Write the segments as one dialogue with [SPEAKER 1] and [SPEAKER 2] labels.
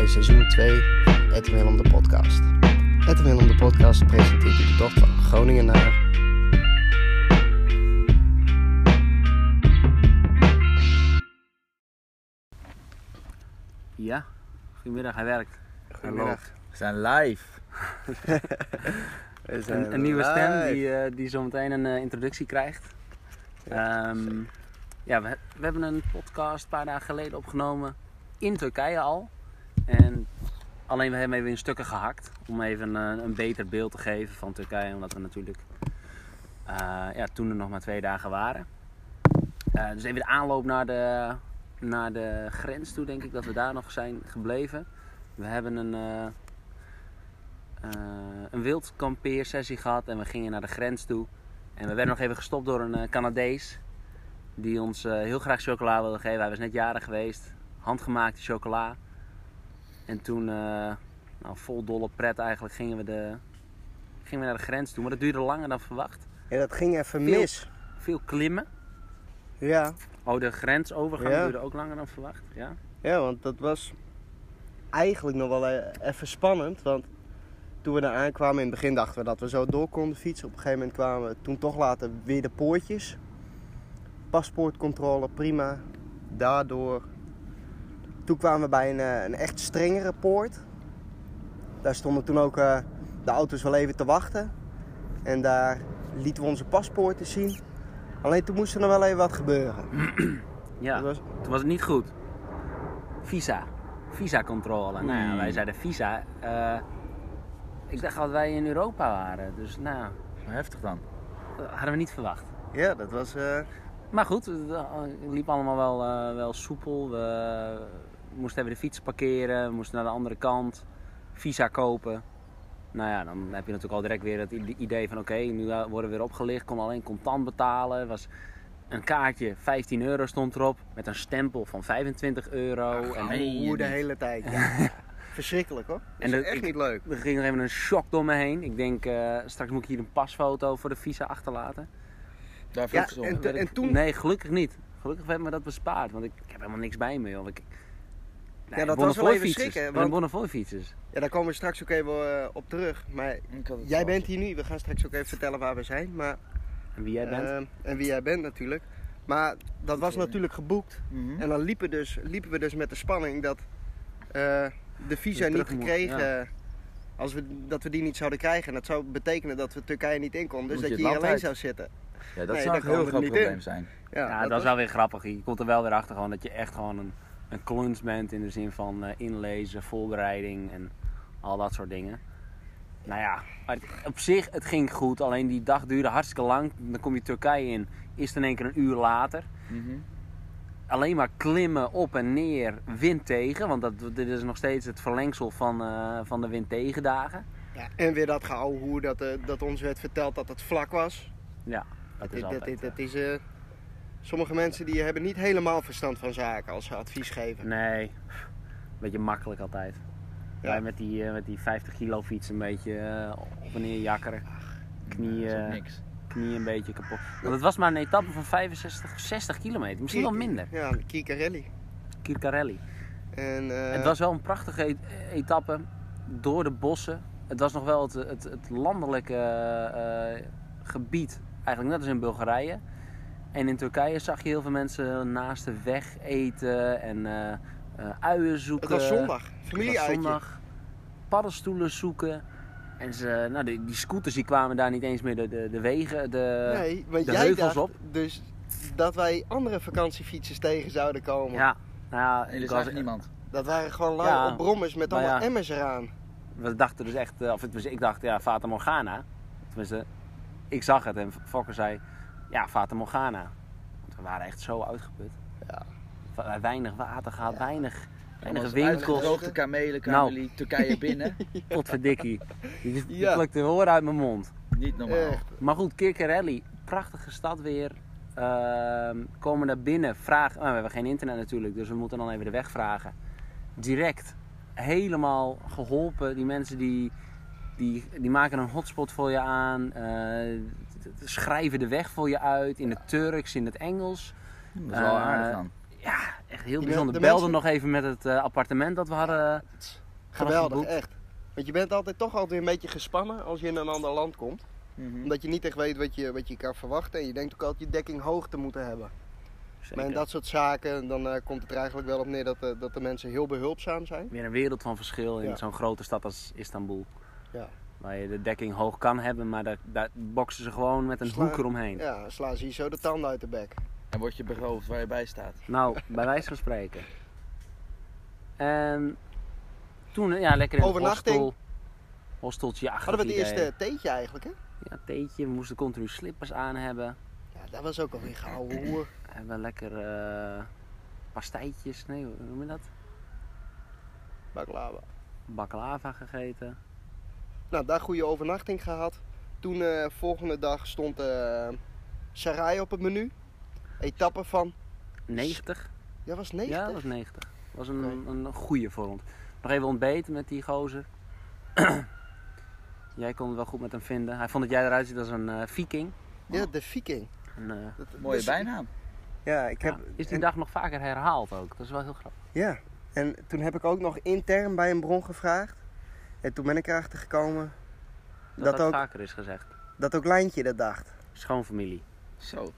[SPEAKER 1] 2, Edwin Willem de podcast. Edwin Willem de podcast presenteert je de dochter van een Groningenaar.
[SPEAKER 2] Ja, goedemiddag, hij werkt.
[SPEAKER 1] Goedemiddag.
[SPEAKER 3] We zijn live.
[SPEAKER 1] We zijn
[SPEAKER 2] Een, een nieuwe stem
[SPEAKER 1] live.
[SPEAKER 2] die, eh, die zometeen een eh, introductie krijgt. Ja, Ehm, ja we, we hebben een podcast een paar dagen geleden opgenomen in Turkije al. En alleen we hebben hem even in stukken gehakt om even eh, een beter beeld te geven van Turkije. Omdat we natuurlijk eh, ja, toen er nog maar twee dagen waren. Eh, dus even de aanloop naar de, naar de grens toe denk ik dat we daar nog zijn gebleven. We hebben een... eh, eh, een wildkampeersessie gehad en we gingen naar de grens toe. En we werden nog even gestopt door een eh, Canadees die ons eh, heel graag chocola wilde geven. Hij was net jarig geweest, handgemaakte chocola. En toen, eh, nou, vol dolle pret eigenlijk, gingen we, de, gingen we naar de grens toe. Maar dat duurde langer dan verwacht.
[SPEAKER 1] Ja, dat ging even
[SPEAKER 2] Veel.
[SPEAKER 1] mis.
[SPEAKER 2] Veel klimmen.
[SPEAKER 1] Ja.
[SPEAKER 2] Oh, de grensovergang
[SPEAKER 1] Ja.
[SPEAKER 2] duurde ook langer dan verwacht. Ja.
[SPEAKER 1] ja, want dat was eigenlijk nog wel eh, even spannend. Want toen we daar aankwamen, in het begin dachten we dat we zo door konden fietsen. Op een gegeven moment kwamen we toen toch later weer de poortjes. Paspoortcontrole, prima. Daardoor. Toen kwamen we bij een, eh, een echt strengere poort. Daar stonden toen ook eh, de auto's wel even te wachten. En daar lieten we onze paspoorten zien. Alleen toen moest er nog wel even wat gebeuren.
[SPEAKER 2] ja.
[SPEAKER 1] Dat was
[SPEAKER 2] Toen was het niet goed. Visa. Visa-controle. Nou ja,
[SPEAKER 3] Hmm.
[SPEAKER 2] wij zeiden visa. eh, ik dacht dat wij in Europa waren. Dus nou, ja,
[SPEAKER 3] Heftig dan.
[SPEAKER 2] dat hadden we niet verwacht.
[SPEAKER 1] Ja, dat was. eh,
[SPEAKER 2] Maar goed, het eh, liep allemaal wel, eh, wel soepel. We moesten even de fiets parkeren. We moesten naar de andere kant. Visa kopen. Nou ja, dan heb je natuurlijk al direct weer het i- idee van... Oké, nu worden we weer opgelicht. Kon alleen contant betalen. Er was een kaartje, 15 euro stond erop. Met een stempel van 25 euro. en
[SPEAKER 3] meen je
[SPEAKER 1] hoe de
[SPEAKER 3] niet.
[SPEAKER 1] hele tijd. Ja. Verschrikkelijk hoor. Dat
[SPEAKER 2] En
[SPEAKER 1] is
[SPEAKER 2] dat-
[SPEAKER 1] echt
[SPEAKER 2] ik-
[SPEAKER 1] niet leuk.
[SPEAKER 2] Er ging nog even een shock door me heen. Ik denk, eh, straks moet ik hier een pasfoto voor de visa achterlaten.
[SPEAKER 3] Daar
[SPEAKER 1] Ja,
[SPEAKER 3] vroeg ze om.
[SPEAKER 1] en-
[SPEAKER 2] Dat werd ik-
[SPEAKER 1] toen-
[SPEAKER 2] Nee, gelukkig niet. Gelukkig werd me dat bespaard, want ik heb helemaal niks bij me, joh. Ik, Nee,
[SPEAKER 1] dat
[SPEAKER 2] ik won
[SPEAKER 1] was
[SPEAKER 2] er
[SPEAKER 1] wel
[SPEAKER 2] voor
[SPEAKER 1] even
[SPEAKER 2] fietsers.
[SPEAKER 1] schrikken,
[SPEAKER 2] Ik
[SPEAKER 1] want-
[SPEAKER 2] won er voor fietsers.
[SPEAKER 1] Ja, daar komen we straks ook even eh, op terug. Maar
[SPEAKER 3] Ik had het
[SPEAKER 1] jij
[SPEAKER 3] wel.
[SPEAKER 1] bent hier nu. We gaan straks ook even vertellen waar we zijn. Maar,
[SPEAKER 2] En wie jij bent.
[SPEAKER 1] ehm, en wie jij bent natuurlijk. Maar dat was
[SPEAKER 3] Oké.
[SPEAKER 1] natuurlijk geboekt.
[SPEAKER 3] Mhm.
[SPEAKER 1] En dan liepen, dus, liepen we dus met de spanning dat eh, de visa
[SPEAKER 2] Dus
[SPEAKER 1] niet
[SPEAKER 2] terug moet,
[SPEAKER 1] gekregen. Als we, dat we die niet zouden krijgen. En dat zou betekenen dat we Turkije niet in konden. Dus
[SPEAKER 3] Moet
[SPEAKER 1] dat je
[SPEAKER 3] je het
[SPEAKER 1] hier
[SPEAKER 3] land
[SPEAKER 1] alleen
[SPEAKER 3] uit.
[SPEAKER 1] zou zitten.
[SPEAKER 3] Ja, dat
[SPEAKER 1] Nee,
[SPEAKER 3] zou
[SPEAKER 1] daar
[SPEAKER 3] een heel
[SPEAKER 1] komen we
[SPEAKER 3] groot
[SPEAKER 1] niet
[SPEAKER 3] probleem
[SPEAKER 1] in.
[SPEAKER 3] zijn.
[SPEAKER 1] Ja,
[SPEAKER 2] ja, dat was
[SPEAKER 1] was-
[SPEAKER 2] wel weer grappig. Je komt er wel weer achter gewoon dat je echt gewoon een, een kluns bent in de zin van eh, inlezen, voorbereiding en al dat soort dingen. Nou ja, maar het- op zich het ging goed, alleen die dag duurde hartstikke lang. Dan kom je Turkije in, is het in één keer een uur later.
[SPEAKER 3] Mhm.
[SPEAKER 2] alleen maar klimmen op en neer, wind tegen. Want dat, dit is nog steeds het verlengsel van, eh, van de wind tegendagen.
[SPEAKER 1] Ja, en weer dat geouwe hoe dat, eh, dat ons werd verteld dat het vlak was.
[SPEAKER 2] Ja, dat is
[SPEAKER 1] Dit- dit-
[SPEAKER 2] altijd...
[SPEAKER 1] dit- dit is, eh, sommige mensen die hebben niet helemaal verstand van zaken als ze advies geven.
[SPEAKER 2] eh, Nee, beetje makkelijk altijd.
[SPEAKER 1] Ja.
[SPEAKER 2] Wij met die, eh, met die 50 kilo fiets een beetje eh, op en neer jakkeren. Knieën,
[SPEAKER 3] Dat is
[SPEAKER 1] eh,
[SPEAKER 3] ook niks.
[SPEAKER 2] knieën een beetje kapot. Want het was maar een etappe van 65 of 60 kilometer. Misschien wel minder.
[SPEAKER 1] Ja, de Kikarelli.
[SPEAKER 2] Kirkarelli.
[SPEAKER 1] En, eh,
[SPEAKER 2] Het was wel een prachtige e- etappe door de bossen. Het was nog wel het, het, het landelijke eh, eh, gebied, eigenlijk net als in Bulgarije. En in Turkije zag je heel veel mensen naast de weg eten en eh, eh, uien zoeken.
[SPEAKER 1] het was zondag,
[SPEAKER 2] eh, Het was
[SPEAKER 1] familieuitje.
[SPEAKER 2] zondag. Paddenstoelen zoeken. En ze, nou, die, die scooters die kwamen daar niet eens meer de, de, de wegen. De,
[SPEAKER 1] Nee, want
[SPEAKER 2] eh, de
[SPEAKER 1] jij
[SPEAKER 2] heuvels
[SPEAKER 1] dacht
[SPEAKER 2] op.
[SPEAKER 1] dus dat wij andere vakantiefietsers tegen zouden komen.
[SPEAKER 2] Ja, nou, ja,
[SPEAKER 3] En er
[SPEAKER 2] ik
[SPEAKER 3] zag
[SPEAKER 2] was,
[SPEAKER 3] niemand.
[SPEAKER 1] Dat waren gewoon lui
[SPEAKER 2] Ja.
[SPEAKER 1] op brommers met
[SPEAKER 2] Nou
[SPEAKER 1] allemaal
[SPEAKER 2] ja.
[SPEAKER 1] emmers eraan.
[SPEAKER 2] We dachten dus echt, eh, of tenminste, ik dacht, ja, Fata Morgana. Tenminste, ik zag het en Fokker zei, ja, Fata Morgana. Want we waren echt zo uitgeput.
[SPEAKER 1] Ja.
[SPEAKER 2] We- Weinig water gehad, weinig, weinig
[SPEAKER 3] Alles
[SPEAKER 2] winkels.
[SPEAKER 3] Uitgedroogde kamelen, kamelie, Turkije binnen.
[SPEAKER 2] Potverdikkie. Die
[SPEAKER 1] Ja.
[SPEAKER 2] ja. plukte horen uit mijn mond.
[SPEAKER 3] Niet
[SPEAKER 2] nou,
[SPEAKER 3] normaal.
[SPEAKER 1] Echt.
[SPEAKER 2] Maar goed, Kirkerelli, prachtige stad weer. Ehm, komen daar binnen, vragen. nou, we hebben geen internet natuurlijk, dus we moeten dan even de weg vragen. Direct, helemaal geholpen. Die mensen die, die, die maken een hotspot voor je aan, eh, t- t- schrijven de weg voor je uit in het Turks, in het Engels.
[SPEAKER 3] Dat is wel
[SPEAKER 2] Eh,
[SPEAKER 3] aardig dan.
[SPEAKER 2] Ja, echt heel
[SPEAKER 1] Die
[SPEAKER 2] bijzonder.
[SPEAKER 1] men- de mensen-
[SPEAKER 2] Belden nog even met het eh, appartement dat we hadden.
[SPEAKER 1] Geweldig,
[SPEAKER 2] geboekt.
[SPEAKER 1] echt. Want je bent altijd toch altijd een beetje gespannen als je in een ander land komt.
[SPEAKER 2] Mm.
[SPEAKER 3] Mhm.
[SPEAKER 1] Omdat je niet echt weet wat je, wat je kan verwachten. En je denkt ook altijd je dekking hoog te moeten hebben.
[SPEAKER 2] Zeker.
[SPEAKER 1] Maar in dat soort zaken, dan eh, komt het er eigenlijk wel op neer dat, eh, dat de mensen heel behulpzaam zijn.
[SPEAKER 2] Weer een wereld van verschil in
[SPEAKER 1] Ja.
[SPEAKER 2] zo'n grote stad als Istanbul.
[SPEAKER 1] Ja.
[SPEAKER 2] Waar je de dekking hoog kan hebben, maar daar, daar boksen ze gewoon met een
[SPEAKER 1] Slaan.
[SPEAKER 2] hoek eromheen.
[SPEAKER 1] Ja, slaan ze hier zo de tanden uit de bek.
[SPEAKER 3] En word je beroofd waar je bij staat.
[SPEAKER 1] Dus-
[SPEAKER 2] Nou, bij wijze van spreken. En toen, ja, lekker in het
[SPEAKER 1] Overnachting.
[SPEAKER 2] hostel. Hosteltje achter.
[SPEAKER 1] Hadden we het eerste theetje eigenlijk, hè?
[SPEAKER 2] Ja, theetje. We moesten continu slippers aan hebben.
[SPEAKER 1] Ja, dat was ook alweer gouden hoer.
[SPEAKER 2] We hebben lekker eh pastijtjes, nee, hoe noem je dat?
[SPEAKER 1] Baklava.
[SPEAKER 2] Baklava gegeten.
[SPEAKER 1] Nou, daar goede overnachting gehad. Toen eh volgende dag stond eh Sarai op het menu. Etappe van,
[SPEAKER 2] 90.
[SPEAKER 1] ja was
[SPEAKER 2] Ja,
[SPEAKER 1] 90.
[SPEAKER 2] dat was 90. was een,
[SPEAKER 1] Oké.
[SPEAKER 2] een goede voor ons. Nog even ontbeten met die gozer. jij kon het wel goed met hem vinden. Hij vond dat jij eruit ziet als een eh, viking.
[SPEAKER 1] Ja, de viking.
[SPEAKER 2] Een, eh,
[SPEAKER 1] Dat-
[SPEAKER 3] Mooie
[SPEAKER 1] dus-
[SPEAKER 3] bijnaam.
[SPEAKER 1] Ja, ik heb...
[SPEAKER 2] ja, is die
[SPEAKER 1] en-
[SPEAKER 2] dag nog vaker herhaald ook. Dat is wel heel grappig.
[SPEAKER 1] Ja, en toen heb ik ook nog intern bij een bron gevraagd. En toen ben ik erachter gekomen
[SPEAKER 2] Dat
[SPEAKER 1] Dat
[SPEAKER 2] dat,
[SPEAKER 1] ook-
[SPEAKER 2] vaker is gezegd.
[SPEAKER 1] dat ook Lijntje dat dacht.
[SPEAKER 2] Schoonfamilie.
[SPEAKER 3] Zo.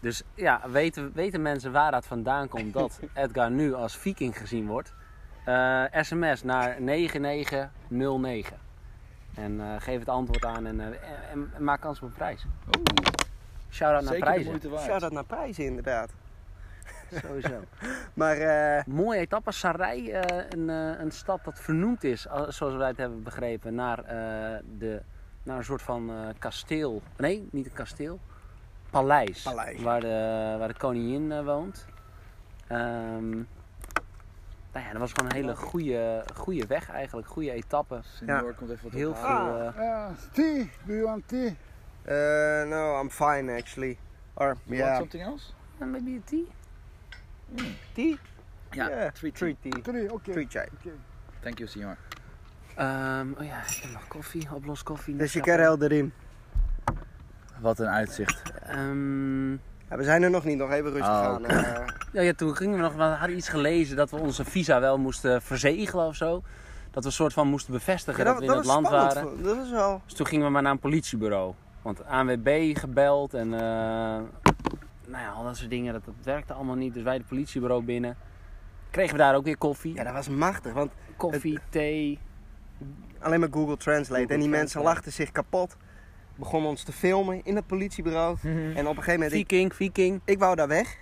[SPEAKER 2] Dus ja, weten, weten mensen waar dat vandaan komt dat Edgar nu als viking gezien wordt? Eh, sms naar 9909. En eh, geef het antwoord aan en, eh, en- en- en maak kans op een prijs.
[SPEAKER 3] Oeh,
[SPEAKER 2] Shout-out naar
[SPEAKER 3] zeker de
[SPEAKER 2] prijzen.
[SPEAKER 3] moeite waard.
[SPEAKER 1] Zou dat naar prijzen inderdaad.
[SPEAKER 2] Sowieso.
[SPEAKER 1] Maar eh,
[SPEAKER 2] Mooie etappe. Sarai, eh, een, eh, een stad dat vernoemd is, eh, zoals wij het hebben begrepen, naar, eh, de, naar een soort van eh, kasteel. Nee, niet een kasteel. Paleis.
[SPEAKER 1] Paleis.
[SPEAKER 2] Waar de, waar de koningin eh, woont. Ehm, nou ja, dat was gewoon een hele goede, goede weg eigenlijk. Goede etappe.
[SPEAKER 3] Senior komt even wat
[SPEAKER 2] Heel
[SPEAKER 1] Ah.
[SPEAKER 2] veel...
[SPEAKER 3] ophalen.
[SPEAKER 2] eh,
[SPEAKER 4] Uh, tea. Do you want tea?
[SPEAKER 1] eh, no, I'm fine actually. Or,
[SPEAKER 3] You want
[SPEAKER 1] yeah.
[SPEAKER 3] something else?
[SPEAKER 2] maybe a tea?
[SPEAKER 1] Tea?
[SPEAKER 3] Ja,
[SPEAKER 1] Yeah,
[SPEAKER 3] three tea.
[SPEAKER 1] Three tea.
[SPEAKER 4] Three. Okay.
[SPEAKER 1] Three chai.
[SPEAKER 4] Okay.
[SPEAKER 3] Thank you, senior.
[SPEAKER 2] Ehm, oh ja, ik heb nog koffie, oplos koffie.
[SPEAKER 1] Dus je kan helder in.
[SPEAKER 3] Wat een uitzicht.
[SPEAKER 2] Ehm,
[SPEAKER 1] Ja, we zijn er nog niet, nog even rustig
[SPEAKER 3] Oh,
[SPEAKER 1] aan. eh.
[SPEAKER 2] Ja, ja, toen gingen we nog, we hadden iets gelezen dat we onze visa wel moesten verzegelen of zo. Dat we een soort van moesten bevestigen
[SPEAKER 1] Ja,
[SPEAKER 2] dat, we in het
[SPEAKER 1] was
[SPEAKER 2] land
[SPEAKER 1] spannend.
[SPEAKER 2] waren.
[SPEAKER 1] Dat was wel.
[SPEAKER 2] Dus toen gingen we maar naar een politiebureau. Want ANWB gebeld en eh, nou ja, al dat soort dingen, dat, dat werkte allemaal niet. Dus wij het politiebureau binnen. Kregen we daar ook weer koffie.
[SPEAKER 1] Ja, dat was machtig, want
[SPEAKER 2] koffie, thee.
[SPEAKER 1] alleen maar Google Translate.
[SPEAKER 2] Google
[SPEAKER 1] en die mensen
[SPEAKER 2] Translate.
[SPEAKER 1] lachten zich kapot. Begonnen ons te filmen in het politiebureau. En op een gegeven moment, ik,
[SPEAKER 2] Viking, Viking.
[SPEAKER 1] ik wou daar weg.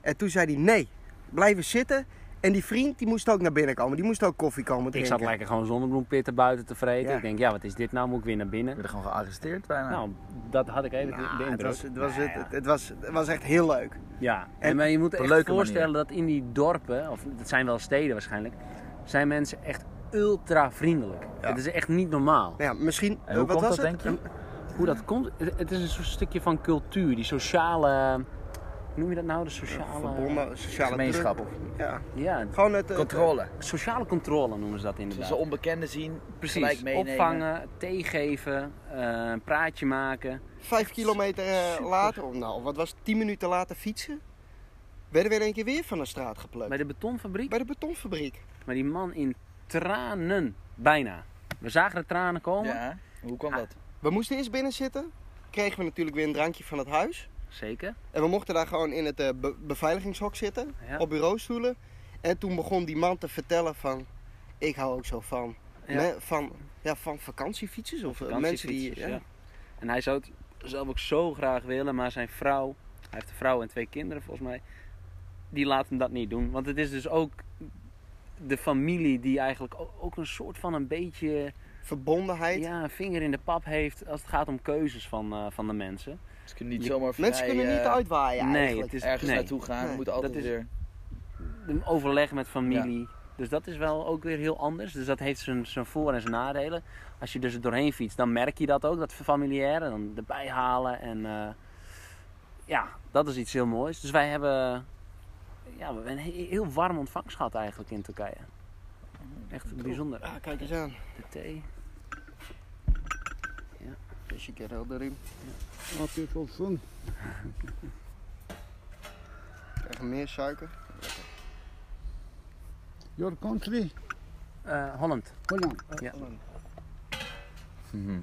[SPEAKER 1] En toen zei hij, nee, blijven zitten. En die vriend, die moest ook naar binnen komen. Die moest ook koffie komen
[SPEAKER 2] Ik
[SPEAKER 1] drinken.
[SPEAKER 2] zat lekker gewoon zonnebloempitten buiten te vreten.
[SPEAKER 1] Ja.
[SPEAKER 2] Ik denk, ja, wat is dit nou? Moet ik weer naar binnen?
[SPEAKER 3] We werden gewoon gearresteerd bijna.
[SPEAKER 2] Nou, dat had ik even de-
[SPEAKER 1] Nou,
[SPEAKER 2] de indruk.
[SPEAKER 1] het, was, het, was,
[SPEAKER 2] Nou
[SPEAKER 1] het,
[SPEAKER 2] ja.
[SPEAKER 1] het, was, het was echt heel leuk. Nou
[SPEAKER 2] Ja,
[SPEAKER 1] En
[SPEAKER 2] en, maar je moet
[SPEAKER 3] een
[SPEAKER 2] echt
[SPEAKER 3] leuke
[SPEAKER 2] voorstellen dat in die dorpen, of dat zijn wel steden waarschijnlijk, zijn mensen echt ultra vriendelijk. Het is echt niet normaal.
[SPEAKER 1] Nou ja, misschien...
[SPEAKER 3] En hoe
[SPEAKER 1] wat
[SPEAKER 3] komt
[SPEAKER 1] was
[SPEAKER 3] dat,
[SPEAKER 1] het?
[SPEAKER 3] denk je?
[SPEAKER 1] Een-
[SPEAKER 2] Hoe dat komt, het het is een soort stukje van cultuur, die sociale, hoe noem je dat nou, de sociale...
[SPEAKER 1] Verbonden, sociale
[SPEAKER 3] Gemeenschap.
[SPEAKER 1] druk of- Ja,
[SPEAKER 2] Ja,
[SPEAKER 1] gewoon het... eh, het-
[SPEAKER 3] Controle.
[SPEAKER 2] sociale controle noemen ze dat
[SPEAKER 3] Als we
[SPEAKER 2] inderdaad.
[SPEAKER 3] ze onbekenden zien, gelijk meenemen.
[SPEAKER 2] opvangen, thee geven, eh, een praatje maken.
[SPEAKER 1] Vijf kilometer eh,
[SPEAKER 2] Super.
[SPEAKER 1] later, of nou, wat was het, tien minuten later fietsen, werden we in één keer weer van de straat geplukt.
[SPEAKER 2] Bij de betonfabriek,
[SPEAKER 1] Bij de betonfabriek.
[SPEAKER 2] maar die man in tranen, bijna. We zagen de tranen komen,
[SPEAKER 3] Ja, hoe kwam dat?
[SPEAKER 1] We moesten eerst binnen zitten, kregen we natuurlijk weer een drankje van het huis.
[SPEAKER 2] zeker.
[SPEAKER 1] En we mochten daar gewoon in het eh, be- beveiligingshok zitten,
[SPEAKER 2] Ja.
[SPEAKER 1] op bureaustoelen. En toen begon die man te vertellen van, ik hou ook zo van,
[SPEAKER 2] Ja.
[SPEAKER 1] me- van, ja, van vakantiefietsers of eh, mensen die...
[SPEAKER 2] Vakantiefietsers, ja. En hij zou het zelf ook zo graag willen, maar zijn vrouw, hij heeft een vrouw en twee kinderen volgens mij, die laat hem dat niet doen. Want het is dus ook de familie die eigenlijk o- ook een soort van een beetje
[SPEAKER 1] verbondenheid.
[SPEAKER 2] ja, een vinger in de pap heeft als het gaat om keuzes van, eh, van de mensen.
[SPEAKER 3] Ze kunnen niet
[SPEAKER 2] Je-
[SPEAKER 3] zomaar vrij,
[SPEAKER 1] Mensen kunnen niet
[SPEAKER 3] eh,
[SPEAKER 1] uitwaaien
[SPEAKER 2] nee,
[SPEAKER 1] eigenlijk.
[SPEAKER 2] het is
[SPEAKER 3] ergens
[SPEAKER 2] nee,
[SPEAKER 3] naartoe gaan.
[SPEAKER 1] Nee,
[SPEAKER 3] moeten altijd
[SPEAKER 2] dat is-
[SPEAKER 3] weer.
[SPEAKER 2] een overleg met familie. Dus dat is wel ook weer heel anders. Dus dat heeft zijn, zijn voor- en zijn nadelen. Als je dus er doorheen fietst, dan merk je dat ook, dat familiaire. Dan erbij halen en eh, ja, dat is iets heel moois. Dus wij hebben, ja, we hebben een he- heel warm ontvangst gehad eigenlijk in Turkije. Echt bijzonder.
[SPEAKER 1] Ah, kijk eens aan.
[SPEAKER 2] De thee.
[SPEAKER 1] Dus je kent heel erin.
[SPEAKER 4] Afiyet olsun.
[SPEAKER 1] Krijgen meer suiker.
[SPEAKER 4] Your country.
[SPEAKER 2] eh, Holland.
[SPEAKER 4] Holland.
[SPEAKER 1] Oh,
[SPEAKER 3] Mhm.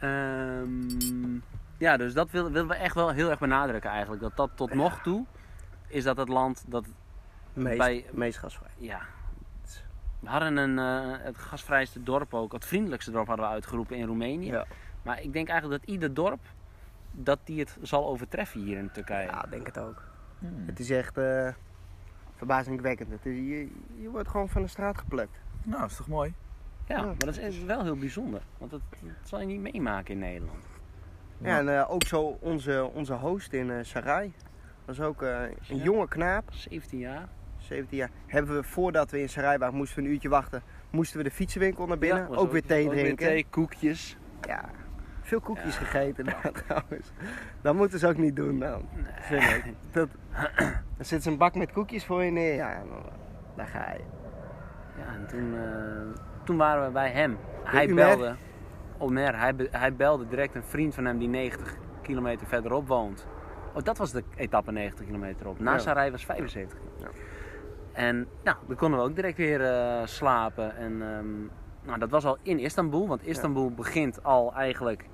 [SPEAKER 2] Ehm, ja, dus dat wil- willen we echt wel heel erg benadrukken eigenlijk. Dat dat tot nog toe is dat het land dat
[SPEAKER 1] Meest,
[SPEAKER 2] Bij-
[SPEAKER 1] meest gasvrij.
[SPEAKER 2] Ja. We hadden een, eh, het gasvrijste dorp ook, het vriendelijkste dorp hadden we uitgeroepen in Roemenië.
[SPEAKER 1] Ja.
[SPEAKER 2] Maar ik denk eigenlijk dat ieder dorp dat die het zal overtreffen hier in Turkije.
[SPEAKER 1] Ja, ik denk het ook.
[SPEAKER 3] Hmm.
[SPEAKER 1] Het is echt eh, verbazingwekkend. Het is, je, je wordt gewoon van de straat geplukt.
[SPEAKER 3] Nou, is toch mooi?
[SPEAKER 2] Ja,
[SPEAKER 1] Ja.
[SPEAKER 2] maar dat is echt wel heel bijzonder. Want dat, dat zal je niet meemaken in Nederland.
[SPEAKER 1] Ja.
[SPEAKER 3] Ja.
[SPEAKER 1] en eh, ook zo onze, onze host in eh Sarai. was ook eh, een
[SPEAKER 2] Ja.
[SPEAKER 1] jonge knaap.
[SPEAKER 2] 17 jaar.
[SPEAKER 1] 17 jaar. Hebben we voordat we in Sarai waren, moesten we een uurtje wachten. Moesten we de fietsenwinkel naar binnen.
[SPEAKER 2] Ja, was
[SPEAKER 1] ook, weer thee drinken.
[SPEAKER 2] Weer thee, koekjes.
[SPEAKER 1] Ja, veel koekjes
[SPEAKER 2] Ja.
[SPEAKER 1] gegeten daar trouwens. Dat moeten ze ook niet doen dan. Vind ik. Dat, dan zit ze een bak met koekjes voor je neer. Ja, dan, daar ga je.
[SPEAKER 2] Ja, en toen, eh, toen waren we bij hem. Hij
[SPEAKER 1] Umer?
[SPEAKER 2] belde. Omer, hij, be- hij belde direct een vriend van hem die 90 kilometer verderop woont. Oh, dat was de etappe 90 kilometer op. Na
[SPEAKER 1] Ja.
[SPEAKER 2] Sarai was 75.
[SPEAKER 1] Ja.
[SPEAKER 2] En nou, dan konden we ook direct weer eh, slapen. En ehm, nou, dat was al in Istanbul, want Istanbul begint al eigenlijk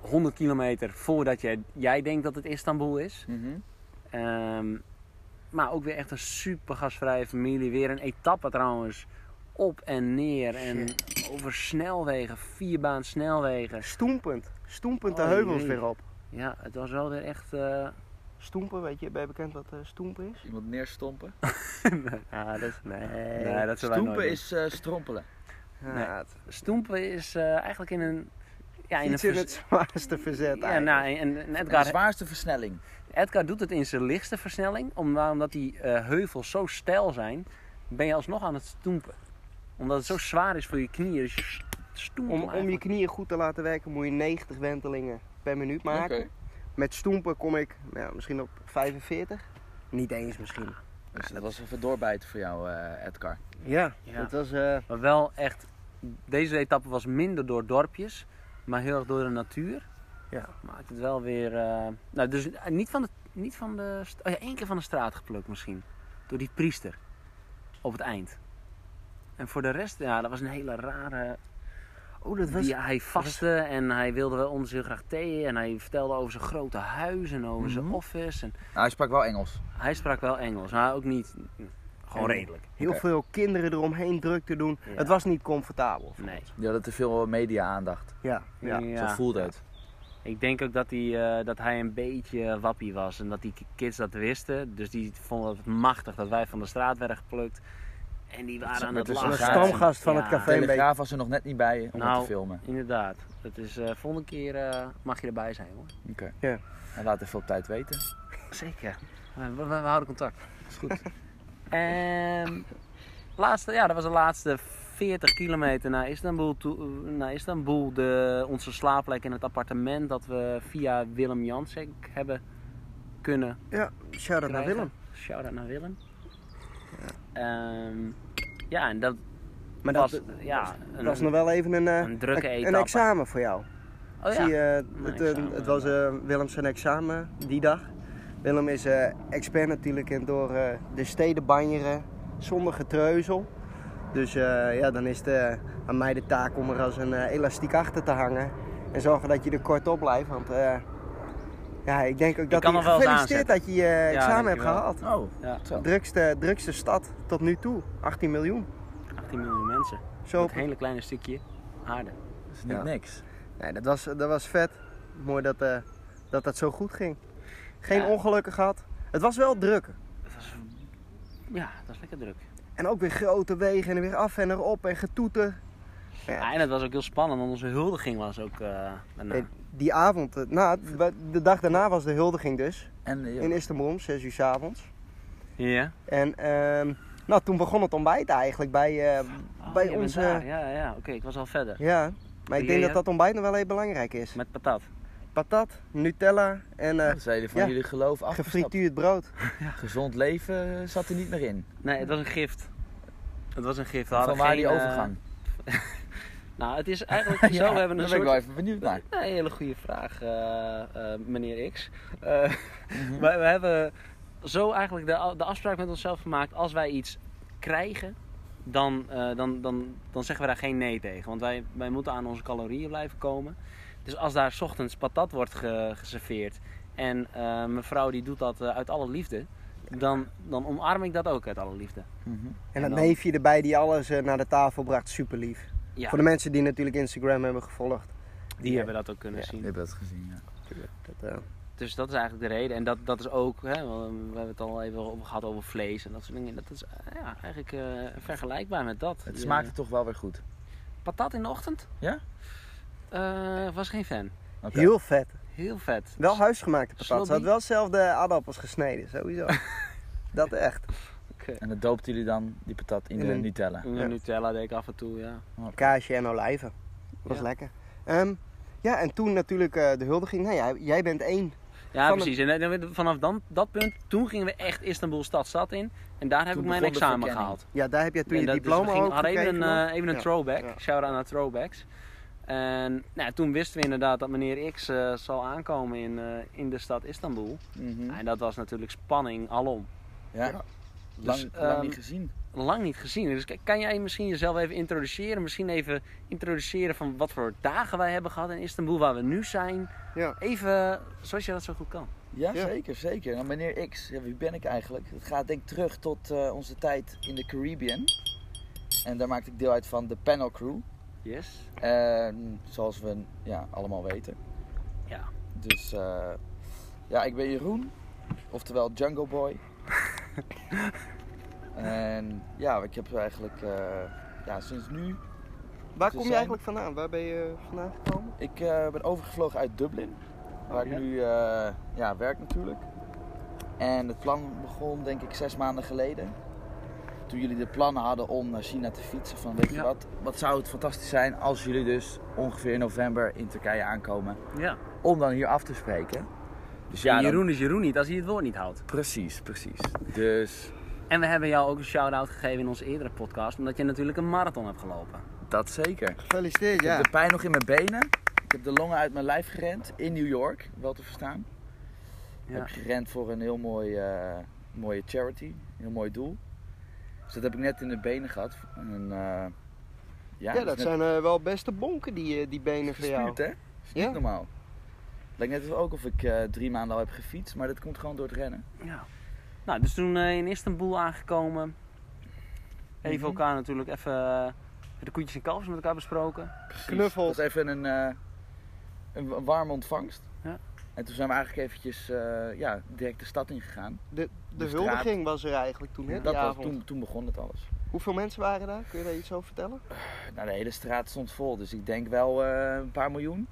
[SPEAKER 2] 100 kilometer voordat jij, jij denkt dat het Istanbul is.
[SPEAKER 3] Mhm.
[SPEAKER 2] Ehm, maar ook weer echt een super gastvrije familie. Weer een etappe trouwens. Op en neer en over snelwegen, vierbaan snelwegen.
[SPEAKER 1] Stoempend. Stoempend de
[SPEAKER 2] Oh,
[SPEAKER 1] heuvels
[SPEAKER 2] jee.
[SPEAKER 1] weer op.
[SPEAKER 2] Ja, het was wel weer echt. eh,
[SPEAKER 1] Stoempen, weet je, ben je bekend wat eh, stoempen is?
[SPEAKER 3] Iemand neerstompen.
[SPEAKER 1] Ah, dat is... Nee.
[SPEAKER 2] nee, dat zullen wij nooit
[SPEAKER 3] Stoempen
[SPEAKER 2] doen.
[SPEAKER 3] is eh, strompelen.
[SPEAKER 1] Ja,
[SPEAKER 2] nee.
[SPEAKER 1] het-
[SPEAKER 2] Stoempen is eh, eigenlijk in een. Ja, in een.
[SPEAKER 1] Fietsen in
[SPEAKER 2] vers-
[SPEAKER 1] het zwaarste verzet
[SPEAKER 2] ja,
[SPEAKER 1] eigenlijk.
[SPEAKER 2] nou, en, en
[SPEAKER 3] De
[SPEAKER 2] Edgar,
[SPEAKER 3] zwaarste versnelling.
[SPEAKER 2] Edgar doet het in zijn lichtste versnelling. om- Omdat die eh, heuvels zo steil zijn, ben je alsnog aan het stoempen. Omdat het zo zwaar is voor je knieën. Dus je st- stoempt
[SPEAKER 1] Om,
[SPEAKER 2] hem
[SPEAKER 1] om je
[SPEAKER 2] eigenlijk.
[SPEAKER 1] knieën goed te laten werken moet je 90 wentelingen per minuut maken.
[SPEAKER 3] Oké.
[SPEAKER 1] Met stoempen kom ik nou, misschien op 45. Niet eens misschien.
[SPEAKER 3] Dus dat was even doorbijten voor jou, eh, Edgar.
[SPEAKER 1] Ja,
[SPEAKER 2] Ja.
[SPEAKER 1] het was... eh,
[SPEAKER 2] Maar wel echt, deze etappe was minder door dorpjes, maar heel erg door de natuur.
[SPEAKER 1] Ja.
[SPEAKER 2] Maakt het wel weer. eh, nou, dus eh, niet van de. Niet van de st- oh ja, één keer van de straat geplukt misschien. Door die priester. Op het eind. En voor de rest, ja, dat was een hele rare.
[SPEAKER 1] oh, dat was...
[SPEAKER 2] die, hij vastte en hij wilde wel ons heel graag thee. En hij vertelde over zijn grote huis en over zijn
[SPEAKER 3] Mhm.
[SPEAKER 2] office. En
[SPEAKER 3] Nou, hij sprak wel Engels.
[SPEAKER 2] hij sprak wel Engels, maar ook niet. Gewoon
[SPEAKER 1] En-
[SPEAKER 2] redelijk.
[SPEAKER 1] heel
[SPEAKER 3] Oké.
[SPEAKER 1] veel kinderen eromheen druk te doen.
[SPEAKER 2] Ja.
[SPEAKER 1] Het was niet comfortabel.
[SPEAKER 2] Nee.
[SPEAKER 3] Die hadden te veel media-aandacht.
[SPEAKER 1] Ja, ja.
[SPEAKER 3] Zo voelde het.
[SPEAKER 2] Ik denk ook dat hij, eh, dat hij een beetje wappie was en dat die kids dat wisten. Dus die vonden het machtig dat wij van de straat werden geplukt. En die waren
[SPEAKER 3] is-
[SPEAKER 2] aan
[SPEAKER 3] dat
[SPEAKER 2] het
[SPEAKER 3] is
[SPEAKER 2] lachen.
[SPEAKER 3] een stamgast
[SPEAKER 1] van het
[SPEAKER 2] Ja,
[SPEAKER 1] café. Klein
[SPEAKER 3] Telegraaf was er nog net niet bij om het
[SPEAKER 2] Nou.
[SPEAKER 3] te filmen.
[SPEAKER 2] Inderdaad. Dat is, eh, volgende keer eh, mag je erbij zijn hoor.
[SPEAKER 3] Oké.
[SPEAKER 1] Ja.
[SPEAKER 3] En laat even op tijd weten.
[SPEAKER 2] Zeker. We, we- we houden contact.
[SPEAKER 3] Is goed.
[SPEAKER 2] En Ehm, laatste, ja, dat was de laatste 40 kilometer naar Istanbul. toe- naar Istanbul de, onze slaapplek in het appartement dat we via Willem Jansek hebben kunnen
[SPEAKER 1] ja shout-out naar
[SPEAKER 2] krijgen.
[SPEAKER 1] Willem.
[SPEAKER 2] Shout-out naar Willem. Ehm, ja, en dat
[SPEAKER 1] Maar
[SPEAKER 2] was,
[SPEAKER 1] dat
[SPEAKER 2] ja,
[SPEAKER 1] dat was nog wel even een, eh,
[SPEAKER 2] een drukke
[SPEAKER 1] een- een
[SPEAKER 2] etappe.
[SPEAKER 1] examen voor jou.
[SPEAKER 2] Oh ja,
[SPEAKER 1] Zie je,
[SPEAKER 2] een
[SPEAKER 1] het, eh,
[SPEAKER 2] examen,
[SPEAKER 1] het was eh, Willem zijn examen die dag. Willem is eh, expert natuurlijk in door eh, de steden banjeren zonder getreuzel. Dus eh, ja, dan is het eh, aan mij de taak om er als een eh, elastiek achter te hangen. En zorgen dat je er kort op blijft. Want eh, ja, ik denk ook dat
[SPEAKER 2] kan
[SPEAKER 1] hij-
[SPEAKER 2] nog wel eens
[SPEAKER 1] gefeliciteerd dat je je
[SPEAKER 2] denk
[SPEAKER 1] examen
[SPEAKER 2] ik
[SPEAKER 1] hebt
[SPEAKER 2] wel.
[SPEAKER 1] gehaald.
[SPEAKER 3] Oh,
[SPEAKER 2] ja,
[SPEAKER 3] zo.
[SPEAKER 1] Drukste, drukste stad tot nu toe, 18 miljoen.
[SPEAKER 2] 18 miljoen mensen.
[SPEAKER 1] Zo,
[SPEAKER 2] Dat hele kleine stukje aarde.
[SPEAKER 3] Dat is niet
[SPEAKER 1] Ja.
[SPEAKER 3] niks.
[SPEAKER 1] nee, dat, was, dat was vet. Mooi dat, eh, dat dat zo goed ging. Geen
[SPEAKER 2] Ja.
[SPEAKER 1] ongelukken gehad. Het was wel druk.
[SPEAKER 2] Het was, ja, het was lekker druk.
[SPEAKER 1] En ook weer grote wegen en weer af en erop en getoeter. Ja.
[SPEAKER 2] Ja, Ah, en het was ook heel spannend, want onze huldiging was ook eh daarna.
[SPEAKER 1] Nee, die avond, eh, na, de dag daarna was de huldiging dus.
[SPEAKER 3] En eh,
[SPEAKER 1] In Istanbul om 6 uur 's avonds.
[SPEAKER 2] Ja.
[SPEAKER 1] En ehm, nou, toen begon het ontbijt eigenlijk bij, eh,
[SPEAKER 2] Oh,
[SPEAKER 1] bij
[SPEAKER 2] je bent
[SPEAKER 1] onze...
[SPEAKER 2] daar. Ja, ja, oké, ik was al verder.
[SPEAKER 1] Ja, maar ik
[SPEAKER 2] Ja,
[SPEAKER 1] denk
[SPEAKER 2] ja.
[SPEAKER 1] dat dat ontbijt nog wel heel belangrijk is.
[SPEAKER 2] Met patat.
[SPEAKER 1] Patat, Nutella en eh,
[SPEAKER 3] dan zijn jullie van
[SPEAKER 1] ja.
[SPEAKER 3] jullie geloof afgestapt.
[SPEAKER 1] gefrituurd brood.
[SPEAKER 3] Gezond leven eh, zat er niet meer in.
[SPEAKER 2] Nee, het was een gift. Het was een gift. We
[SPEAKER 3] Van
[SPEAKER 2] hadden
[SPEAKER 3] waar
[SPEAKER 2] geen,
[SPEAKER 3] die
[SPEAKER 2] eh,
[SPEAKER 3] overgang?
[SPEAKER 2] nou, het is eigenlijk zo, we hebben een
[SPEAKER 3] daar ben
[SPEAKER 2] soort...
[SPEAKER 3] ik wel even benieuwd naar.
[SPEAKER 2] Nee, een hele goede vraag, eh, eh, meneer X. Eh,
[SPEAKER 1] Mhm.
[SPEAKER 2] maar we hebben zo eigenlijk de, de afspraak met onszelf gemaakt: als wij iets krijgen, dan, eh, dan, dan, dan zeggen we daar geen nee tegen. Want wij, wij moeten aan onze calorieën blijven komen. Dus als daar 's ochtends patat wordt ge- geserveerd en eh, mevrouw die doet dat eh, uit alle liefde, dan, dan omarm ik dat ook uit alle liefde.
[SPEAKER 3] Mhm.
[SPEAKER 1] En dat
[SPEAKER 2] dan-
[SPEAKER 1] neefje erbij die alles eh, naar de tafel bracht, super lief.
[SPEAKER 2] Ja,
[SPEAKER 1] Voor de mensen die natuurlijk Instagram hebben gevolgd.
[SPEAKER 2] die hebben dat ook kunnen
[SPEAKER 1] Ja.
[SPEAKER 3] Ik
[SPEAKER 2] zien.
[SPEAKER 3] heb dat gezien, ja.
[SPEAKER 1] Dat, eh,
[SPEAKER 2] Dus dat is eigenlijk de reden. En dat, dat is ook, hè, we we hebben het al even over gehad over vlees en dat soort dingen. Dat is eh, ja, eigenlijk eh, vergelijkbaar met dat.
[SPEAKER 3] Het
[SPEAKER 2] Je-
[SPEAKER 3] smaakte toch wel weer goed.
[SPEAKER 2] Patat in de ochtend?
[SPEAKER 3] Ja?
[SPEAKER 2] Eh, was geen fan.
[SPEAKER 3] Oké.
[SPEAKER 1] Heel vet.
[SPEAKER 2] Heel vet.
[SPEAKER 1] Wel huisgemaakte patat. Ze had
[SPEAKER 2] Slobby.
[SPEAKER 1] wel zelf de aardappels gesneden, sowieso. dat echt.
[SPEAKER 2] Oké.
[SPEAKER 3] En dat doopten jullie dan, die patat, in,
[SPEAKER 1] In
[SPEAKER 3] de
[SPEAKER 1] een-
[SPEAKER 3] Nutella.
[SPEAKER 2] En
[SPEAKER 1] Ja.
[SPEAKER 2] Nutella deed ik af en toe, ja.
[SPEAKER 1] Kaasje en olijven. Was
[SPEAKER 2] Ja.
[SPEAKER 1] lekker. Ehm, ja, en toen natuurlijk eh, de huldiging. Nou ja, jij bent één.
[SPEAKER 2] Ja,
[SPEAKER 1] Van
[SPEAKER 2] precies. En dan- dan- vanaf dan, dat punt, toen gingen we echt Istanbul stadstad in. En daar heb
[SPEAKER 3] Toen
[SPEAKER 2] ik mijn
[SPEAKER 3] begon de
[SPEAKER 2] examen
[SPEAKER 3] verkenning.
[SPEAKER 2] gehaald.
[SPEAKER 1] Ja, daar heb jij toen
[SPEAKER 2] En
[SPEAKER 1] je
[SPEAKER 2] dat- dus we
[SPEAKER 1] diploma
[SPEAKER 2] gingen-
[SPEAKER 1] ook
[SPEAKER 2] hadden even
[SPEAKER 1] gekregen.
[SPEAKER 2] een,
[SPEAKER 1] nog.
[SPEAKER 2] eh, even een
[SPEAKER 1] Ja.
[SPEAKER 2] throwback.
[SPEAKER 1] Ja.
[SPEAKER 2] Shout-out naar throwbacks. En nou, ja, toen wisten we inderdaad dat meneer X eh, zal aankomen in, eh, in de stad Istanbul.
[SPEAKER 3] Mhm.
[SPEAKER 2] En dat was natuurlijk spanning alom.
[SPEAKER 3] Ja. Lang,
[SPEAKER 2] Dus,
[SPEAKER 3] lang
[SPEAKER 2] ehm,
[SPEAKER 3] niet gezien.
[SPEAKER 2] lang niet gezien. Dus k- kan jij misschien jezelf even introduceren? Misschien even introduceren van wat voor dagen wij hebben gehad in Istanbul, waar we nu zijn.
[SPEAKER 1] Ja.
[SPEAKER 2] Even zoals je dat zo goed kan.
[SPEAKER 3] Ja,
[SPEAKER 1] Ja.
[SPEAKER 3] zeker, zeker. Nou, meneer X, ja, wie ben ik eigenlijk? Het gaat denk ik terug tot eh, onze tijd in de Caribbean. En daar maakte ik deel uit van de panel crew.
[SPEAKER 2] Yes.
[SPEAKER 3] Ehm, zoals we ja, allemaal weten.
[SPEAKER 2] Ja.
[SPEAKER 3] Dus eh, ja, ik ben Jeroen, oftewel Jungle Boy. en ja, ik heb eigenlijk eh, ja, sinds nu...
[SPEAKER 1] Waar
[SPEAKER 3] Ze
[SPEAKER 1] kom je
[SPEAKER 3] zijn-
[SPEAKER 1] eigenlijk vandaan? Waar ben je vandaan gekomen?
[SPEAKER 3] Ik eh, ben overgevlogen uit Dublin, waar
[SPEAKER 2] Oh, ja?
[SPEAKER 3] ik nu eh, ja, werk natuurlijk. En het plan begon denk ik zes maanden geleden. Toen jullie de plannen hadden om naar China te fietsen van weet je
[SPEAKER 2] Ja.
[SPEAKER 3] wat, wat zou het fantastisch zijn als jullie dus ongeveer in november in Turkije aankomen.
[SPEAKER 2] Ja.
[SPEAKER 3] om dan hier af te spreken. Dus ja,
[SPEAKER 2] En
[SPEAKER 3] dan-
[SPEAKER 2] Jeroen is Jeroen niet als hij het woord niet houdt.
[SPEAKER 3] Precies, precies. Dus
[SPEAKER 2] En we hebben jou ook een shout-out gegeven in onze eerdere podcast, omdat je natuurlijk een marathon hebt gelopen.
[SPEAKER 3] dat zeker. Ik
[SPEAKER 1] Gefeliciteerd, ja.
[SPEAKER 3] heb de pijn nog in mijn benen. Ik heb de longen uit mijn lijf gerend in New York, wel te verstaan.
[SPEAKER 2] Ja.
[SPEAKER 3] Heb ik gerend voor een heel mooi, eh, mooie charity, een heel mooi doel. Dus dat heb ik net in de benen gehad. En, eh, ja,
[SPEAKER 1] Ja,
[SPEAKER 3] is
[SPEAKER 1] dat
[SPEAKER 3] net
[SPEAKER 1] zijn eh, wel beste bonken, die, eh, die benen van jou.
[SPEAKER 3] gespierd, hè? Is
[SPEAKER 1] Ja.
[SPEAKER 3] niet normaal. Lijkt net ook of ik eh, drie maanden al heb gefietst, maar dat komt gewoon door het rennen.
[SPEAKER 2] Ja. Nou, dus toen eh, in Istanbul aangekomen. Even
[SPEAKER 3] Mhm.
[SPEAKER 2] elkaar natuurlijk even eh, de koetjes en kalfjes met elkaar besproken.
[SPEAKER 3] Precies.
[SPEAKER 1] Knuffel.
[SPEAKER 3] Dat was even een, eh, een, wa- warme ontvangst.
[SPEAKER 2] Ja.
[SPEAKER 3] En toen zijn we eigenlijk eventjes eh, ja, direct de stad ingegaan.
[SPEAKER 1] De, de
[SPEAKER 3] De straat.
[SPEAKER 1] huldiging was er eigenlijk toen, hè, die
[SPEAKER 3] Dat was,
[SPEAKER 1] avond.
[SPEAKER 3] toen, toen begon het alles.
[SPEAKER 1] Hoeveel mensen waren daar? Kun je daar iets over vertellen?
[SPEAKER 3] Nou, de hele straat stond vol, dus ik denk wel eh, een paar miljoen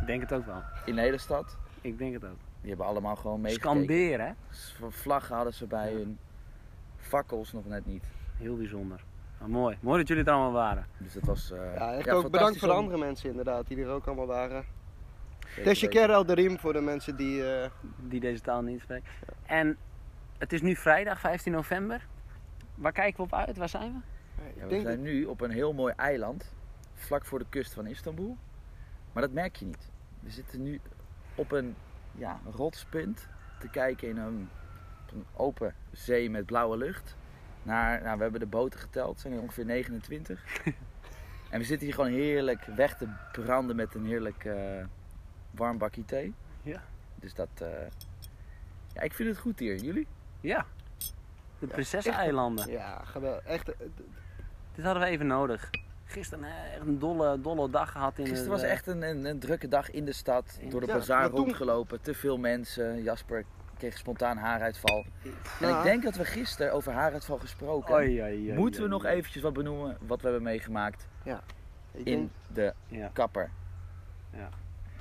[SPEAKER 2] Ik denk het ook wel.
[SPEAKER 3] in de hele stad.
[SPEAKER 2] Ik denk het ook.
[SPEAKER 3] Die hebben allemaal gewoon meegekeken.
[SPEAKER 2] Scanderen, hè?
[SPEAKER 3] Dus voor Vlaggen hadden ze bij hun, fakkels nog net niet.
[SPEAKER 2] Heel bijzonder. Maar mooi. Mooi dat jullie er allemaal waren.
[SPEAKER 3] Dus dat was... eh,
[SPEAKER 1] Ja, echt
[SPEAKER 3] ja,
[SPEAKER 1] ook bedankt
[SPEAKER 3] fantastisch
[SPEAKER 1] voor de
[SPEAKER 3] om-
[SPEAKER 1] andere mensen inderdaad, die er ook allemaal waren.
[SPEAKER 3] Zeker weten.
[SPEAKER 1] Teşekkür el Darim voor de mensen die... eh,
[SPEAKER 2] die deze taal niet spreekt. En het is nu vrijdag 15 november. Waar kijken we op uit? Waar zijn we?
[SPEAKER 1] ik
[SPEAKER 3] Ja, we
[SPEAKER 1] denk
[SPEAKER 3] zijn nu op een heel mooi eiland, vlak voor de kust van Istanbul. Maar dat merk je niet. We zitten nu op een ja, rotspunt te kijken in een, op een open zee met blauwe lucht. Naar, nou, we hebben de boten geteld, het zijn er ongeveer 29. en we zitten hier gewoon heerlijk weg te branden met een heerlijk eh, warm bakje thee.
[SPEAKER 2] Ja.
[SPEAKER 3] Dus dat... eh, ja, ik vind het goed hier. Jullie?
[SPEAKER 2] Ja. De Prinseseneilanden.
[SPEAKER 1] Ja, geweldig. Echt, eh,
[SPEAKER 2] Dit hadden we even nodig. Gisteren eh, echt een dolle, dolle dag gehad. In
[SPEAKER 3] Gisteren
[SPEAKER 2] het,
[SPEAKER 3] was
[SPEAKER 2] eh,
[SPEAKER 3] echt een, een, een drukke dag in de stad. Door de
[SPEAKER 1] Ja,
[SPEAKER 3] bazaar
[SPEAKER 1] maar toen-
[SPEAKER 3] rondgelopen, te veel mensen. Jasper kreeg spontaan haaruitval. En
[SPEAKER 1] nou,
[SPEAKER 3] ik denk dat we gisteren over haaruitval gesproken.
[SPEAKER 2] Oei, oei, oei,
[SPEAKER 3] moeten we
[SPEAKER 2] oei.
[SPEAKER 3] nog eventjes wat benoemen wat we hebben meegemaakt
[SPEAKER 1] ik
[SPEAKER 3] in
[SPEAKER 1] denk-
[SPEAKER 3] de
[SPEAKER 2] Ja.
[SPEAKER 3] kapper.
[SPEAKER 2] Ja.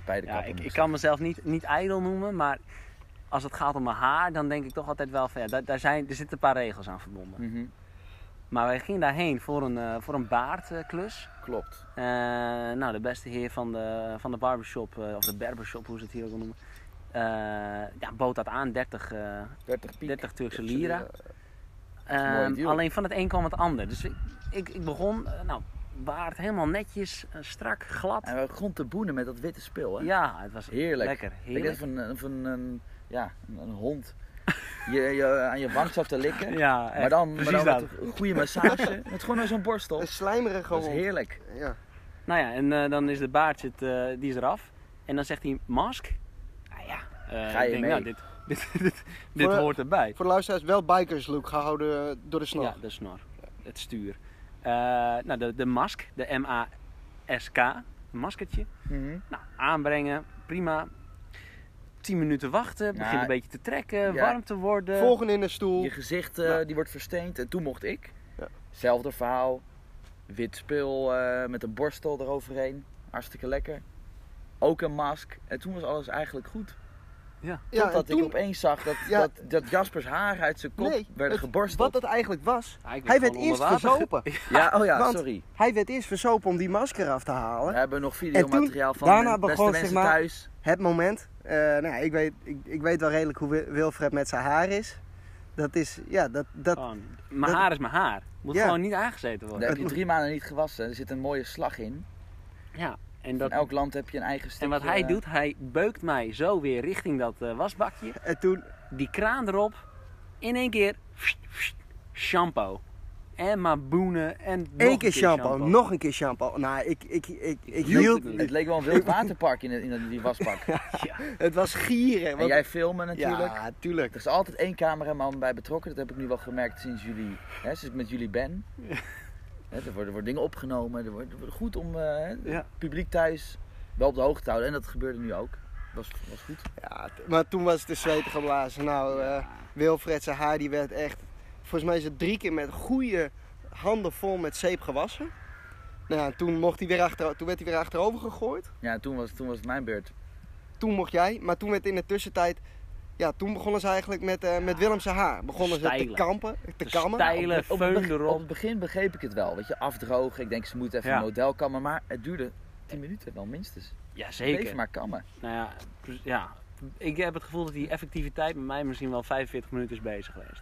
[SPEAKER 3] Bij de
[SPEAKER 2] Ja, ik,
[SPEAKER 3] kapper. moet
[SPEAKER 2] ik
[SPEAKER 3] zeggen.
[SPEAKER 2] kan mezelf niet, niet ijdel noemen, maar als het gaat om mijn haar, dan denk ik toch altijd wel van ja, daar, daar zijn, er zitten een paar regels aan verbonden.
[SPEAKER 3] Mhm,
[SPEAKER 2] Maar wij gingen daarheen voor een, eh, voor een baardklus.
[SPEAKER 3] Klopt.
[SPEAKER 2] Eh, nou, de beste heer van de, van de barbershop, eh, of de berbershop, hoe ze het hier ook al noemen. eh, ja, bood dat aan, 30, eh,
[SPEAKER 3] 30 piek. Dus, eh,
[SPEAKER 2] 30 Turkse
[SPEAKER 3] Turkse
[SPEAKER 2] lira.
[SPEAKER 3] lira.
[SPEAKER 2] Ehm,
[SPEAKER 3] mooi deal.
[SPEAKER 2] alleen van het een kwam het ander. Dus ik, ik, ik begon, eh, nou, baard helemaal netjes, eh, strak, glad.
[SPEAKER 3] En we begonnen te boenen met dat witte spul. Hè?
[SPEAKER 2] Ja, het was
[SPEAKER 3] Heerlijk.
[SPEAKER 2] lekker.
[SPEAKER 3] Ik
[SPEAKER 2] heerlijk.
[SPEAKER 3] denk van, een- van een, ja, een, een hond je, je, aan je wang zat te likken.
[SPEAKER 2] Ja, echt.
[SPEAKER 3] maar dan, maar
[SPEAKER 2] precies
[SPEAKER 3] dan
[SPEAKER 2] dat.
[SPEAKER 3] met een goede massage. met gewoon naar zo'n borstel.
[SPEAKER 1] Een slijmerige
[SPEAKER 3] Dat is
[SPEAKER 1] hond.
[SPEAKER 3] heerlijk.
[SPEAKER 1] Ja.
[SPEAKER 2] Nou ja, en eh, dan is de baard zit, eh, die is eraf. En dan zegt hij, mask? Nou ja, eh,
[SPEAKER 3] Ga je
[SPEAKER 2] ik denk,
[SPEAKER 3] mee?
[SPEAKER 2] nou, dit, dit, dit, dit
[SPEAKER 1] Voor-
[SPEAKER 2] hoort erbij.
[SPEAKER 1] Voor de luisteraars wel bikers look gehouden eh, door de snor.
[SPEAKER 2] Ja,
[SPEAKER 3] dus,
[SPEAKER 2] de snor. Het stuur. Eh, nou, de, de mask, de M-A-S-K, een maskertje.
[SPEAKER 3] Mhm.
[SPEAKER 2] Nou, aanbrengen, prima. 10 minuten wachten, begint
[SPEAKER 3] Nou,
[SPEAKER 2] een beetje te trekken,
[SPEAKER 3] ja.
[SPEAKER 2] warm te worden.
[SPEAKER 1] Volgende in de stoel.
[SPEAKER 3] eh, Je gezicht eh,
[SPEAKER 1] Ja.
[SPEAKER 3] die wordt versteend. En toen mocht ik.
[SPEAKER 1] Ja.
[SPEAKER 3] Zelfde verhaal. Wit spul eh, met een borstel eroverheen. Hartstikke lekker. Ook een mask. En toen was alles eigenlijk goed.
[SPEAKER 1] Ja, en
[SPEAKER 3] Totdat
[SPEAKER 1] toen-
[SPEAKER 3] ik opeens zag dat,
[SPEAKER 1] Ja.
[SPEAKER 3] dat, dat Jaspers haar uit zijn kop
[SPEAKER 1] Nee,
[SPEAKER 3] werden
[SPEAKER 1] het-
[SPEAKER 3] geborsteld.
[SPEAKER 1] Wat het eigenlijk was,
[SPEAKER 2] Ja, ik
[SPEAKER 1] hij
[SPEAKER 2] werd
[SPEAKER 1] werd
[SPEAKER 2] gewoon
[SPEAKER 1] eerst
[SPEAKER 2] onder water
[SPEAKER 1] verzopen.
[SPEAKER 3] Ja, oh ja,
[SPEAKER 1] Want- Oh,
[SPEAKER 3] sorry.
[SPEAKER 1] Hij werd eerst verzopen om die masker af te halen.
[SPEAKER 3] We hebben nog videomateriaal van
[SPEAKER 1] daarna
[SPEAKER 3] de beste
[SPEAKER 1] begon,
[SPEAKER 3] mensen
[SPEAKER 1] zeg maar,
[SPEAKER 3] thuis.
[SPEAKER 1] Het moment, eh, nou, ja, ik, weet, ik, ik weet wel redelijk hoe Wil- Wilfred met zijn haar is. Dat is, ja, dat, dat,
[SPEAKER 2] Gewoon, Mijn
[SPEAKER 1] dat-
[SPEAKER 2] haar is mijn haar. Moet
[SPEAKER 1] Ja.
[SPEAKER 2] gewoon niet aangezeten
[SPEAKER 3] Daar
[SPEAKER 2] worden.
[SPEAKER 3] heb je drie maanden niet gewassen. Er zit een mooie slag in.
[SPEAKER 2] Ja, en,
[SPEAKER 3] In
[SPEAKER 2] dat,
[SPEAKER 3] elk land heb je een eigen stukje.
[SPEAKER 2] en wat hij
[SPEAKER 3] eh,
[SPEAKER 2] doet, hij beukt mij zo weer richting dat eh, wasbakje.
[SPEAKER 3] Ah.
[SPEAKER 1] en toen,
[SPEAKER 2] Die kraan erop. In één keer pssst, pssst, shampoo. En maar boenen en nog
[SPEAKER 1] één
[SPEAKER 2] een
[SPEAKER 1] keer shampoo, nog een keer shampoo. Nou, ik, ik, ik, ik,
[SPEAKER 2] hield
[SPEAKER 1] hield,
[SPEAKER 2] het niet.
[SPEAKER 3] Het leek wel een wild waterpark in, in, die wasbak.
[SPEAKER 1] het was gieren.
[SPEAKER 3] En
[SPEAKER 1] want-
[SPEAKER 3] jij filmen natuurlijk.
[SPEAKER 1] Ja, tuurlijk.
[SPEAKER 3] Er is altijd één cameraman bij betrokken. Dat heb ik nu wel gemerkt sinds jullie, hè, sinds ik met jullie ben. Hè, er, worden, er worden dingen opgenomen. Er wordt, er wordt goed om eh, het
[SPEAKER 2] Ja.
[SPEAKER 3] publiek thuis wel op de hoogte te houden. En dat gebeurde nu ook. Was, was goed.
[SPEAKER 1] Ja, t- maar toen was het de zweet geblazen. Nou, eh Wilfred zijn haar die werd echt... Volgens mij is het drie keer met goede handen vol met zeep gewassen. Nou ja, toen, mocht hij weer achter, toen werd hij weer achterover gegooid.
[SPEAKER 3] Ja, toen was, toen was het mijn beurt.
[SPEAKER 1] Toen mocht jij. Maar toen werd in de tussentijd... Ja, toen begonnen ze eigenlijk met, eh met Willem zijn haar. Begonnen ze te
[SPEAKER 2] Stijlen.
[SPEAKER 1] kampen, te
[SPEAKER 2] Te
[SPEAKER 1] kammen.
[SPEAKER 2] stijlen.
[SPEAKER 3] Op
[SPEAKER 2] Hele
[SPEAKER 3] het- op, het
[SPEAKER 2] föhn
[SPEAKER 3] beg-
[SPEAKER 2] erop.
[SPEAKER 3] op het begin begreep ik het wel. Weet je, afdrogen. Ik denk ze moeten even
[SPEAKER 2] Ja.
[SPEAKER 3] een model kammen. Maar het duurde 10 minuten wel minstens.
[SPEAKER 2] Ja, zeker.
[SPEAKER 3] Even maar kammen.
[SPEAKER 2] Nou ja, pres- ja, ik heb het gevoel dat die effectiviteit met mij misschien wel 45 minuten is bezig geweest.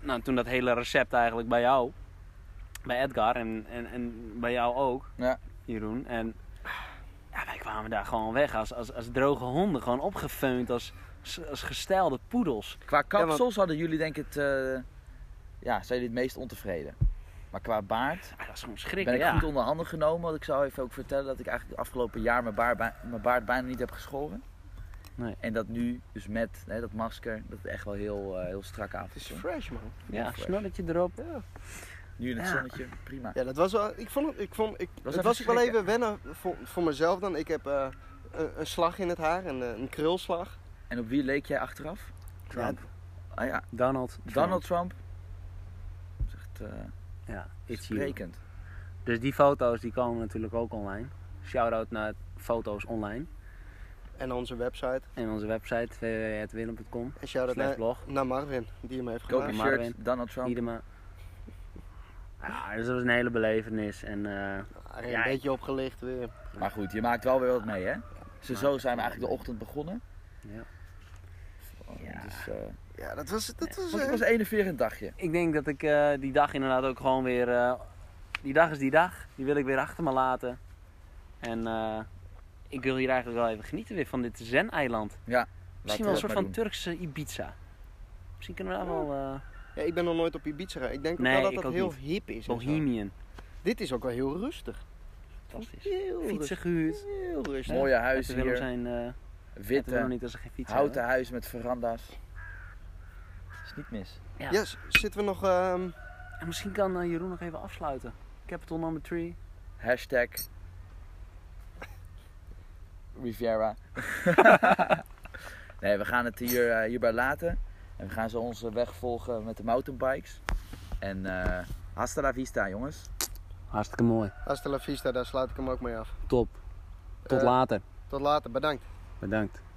[SPEAKER 2] Nou, toen dat hele recept eigenlijk bij jou, bij Edgar en, en, en bij jou ook,
[SPEAKER 3] Ja.
[SPEAKER 2] Jeroen. En ja, wij kwamen daar gewoon weg als, als, als droge honden, gewoon opgefeund als, als gestelde poedels.
[SPEAKER 3] Qua kapsels
[SPEAKER 1] want-
[SPEAKER 3] hadden jullie denk ik het... eh, ja, zijn jullie het meest ontevreden. Maar qua baard...
[SPEAKER 2] Ja, dat is gewoon
[SPEAKER 3] Ik
[SPEAKER 2] schrikken,
[SPEAKER 3] ben ik
[SPEAKER 2] ja.
[SPEAKER 3] goed onder handen genomen. Want ik zou even ook vertellen dat ik eigenlijk het afgelopen jaar mijn baard, bij- mijn baard bijna niet heb geschoren.
[SPEAKER 2] Nee.
[SPEAKER 3] En dat nu, dus met hè, dat masker, dat het echt wel heel, eh, heel strak af
[SPEAKER 1] Het
[SPEAKER 3] is.
[SPEAKER 1] is
[SPEAKER 3] hoor.
[SPEAKER 1] fresh, man.
[SPEAKER 2] Ja, snorretje erop.
[SPEAKER 3] Nu in het
[SPEAKER 2] Ja.
[SPEAKER 3] zonnetje, prima.
[SPEAKER 1] Ja, dat was wel... Ik vond het... Ik vond, ik, het
[SPEAKER 3] was even
[SPEAKER 1] was ook wel
[SPEAKER 3] schrikken.
[SPEAKER 1] even wennen voor, voor mezelf dan. Ik heb eh, een, een slag in het haar, een, eh, een krulslag.
[SPEAKER 3] En op wie leek jij achteraf?
[SPEAKER 2] Trump.
[SPEAKER 3] Ah ja,
[SPEAKER 2] Donald. Trump.
[SPEAKER 3] Donald Trump. Dat is echt eh,
[SPEAKER 2] Ja, it's you.
[SPEAKER 3] sprekend.
[SPEAKER 2] Dus die foto's die komen natuurlijk ook online. Shout-out naar foto's online.
[SPEAKER 1] En onze website.
[SPEAKER 2] En onze website www.willem.com.
[SPEAKER 1] En shout-out
[SPEAKER 2] Slash
[SPEAKER 1] naar,
[SPEAKER 2] blog.
[SPEAKER 1] naar Marvin, die hem heeft
[SPEAKER 3] Koop
[SPEAKER 1] gemaakt.
[SPEAKER 3] een
[SPEAKER 2] maar
[SPEAKER 3] shirt,
[SPEAKER 2] Marvin.
[SPEAKER 3] Donald Trump.
[SPEAKER 2] Iedema. Ja, dus dat was een hele belevenis. En eh,
[SPEAKER 1] Ah, Een
[SPEAKER 2] Ja,
[SPEAKER 1] beetje opgelicht weer.
[SPEAKER 3] Maar goed, je maakt wel weer wat mee hè. Zo, zo zijn we eigenlijk de ochtend begonnen.
[SPEAKER 2] Ja.
[SPEAKER 3] Ja. Dus, eh,
[SPEAKER 1] Ja, dat was... Dat was,
[SPEAKER 3] want het was eh, een enerverend dagje.
[SPEAKER 2] ik denk dat ik eh, die dag inderdaad ook gewoon weer... eh, die dag is die dag. Die wil ik weer achter me laten. En eh, ik wil hier eigenlijk wel even genieten weer van dit zen-eiland.
[SPEAKER 3] Laten
[SPEAKER 2] Misschien
[SPEAKER 3] we
[SPEAKER 2] wel een
[SPEAKER 3] dat
[SPEAKER 2] soort
[SPEAKER 3] maar
[SPEAKER 2] van
[SPEAKER 3] doen.
[SPEAKER 2] Turkse Ibiza. Misschien kunnen we daar wel... eh,
[SPEAKER 1] ja, ik ben nog nooit op Ibiza geweest. Ik denk ook
[SPEAKER 2] Nee,
[SPEAKER 1] wel dat
[SPEAKER 2] ik
[SPEAKER 1] dat
[SPEAKER 2] ook
[SPEAKER 1] heel
[SPEAKER 2] niet.
[SPEAKER 1] hip is. en zo.
[SPEAKER 2] Bohemian.
[SPEAKER 1] Dit is ook wel heel rustig.
[SPEAKER 2] Fantastisch.
[SPEAKER 1] Heel
[SPEAKER 2] Fietsen
[SPEAKER 1] rustig.
[SPEAKER 2] gehuurd.
[SPEAKER 1] Heel rustig.
[SPEAKER 3] Mooie
[SPEAKER 2] Uit
[SPEAKER 3] huizen
[SPEAKER 2] de Willem
[SPEAKER 3] hier,
[SPEAKER 2] zijn... eh uit de Willem
[SPEAKER 3] witte,
[SPEAKER 2] niet als ze geen fiets
[SPEAKER 3] houten huis met veranda's. Is niet mis.
[SPEAKER 2] Ja.
[SPEAKER 1] Ja, s- zitten we nog... ehm,
[SPEAKER 2] hebben. En misschien kan eh, Jeroen nog even afsluiten. Capital number 3.
[SPEAKER 3] Hashtag Riviera. nee, we gaan het hier, eh, hierbij laten. En we gaan zo onze weg volgen met de mountainbikes. En eh hasta la vista, jongens.
[SPEAKER 2] Hartstikke mooi.
[SPEAKER 1] hasta la vista, daar sluit ik hem ook mee af.
[SPEAKER 2] Top. Tot
[SPEAKER 1] Eh,
[SPEAKER 2] later.
[SPEAKER 1] Tot later, bedankt.
[SPEAKER 2] Bedankt.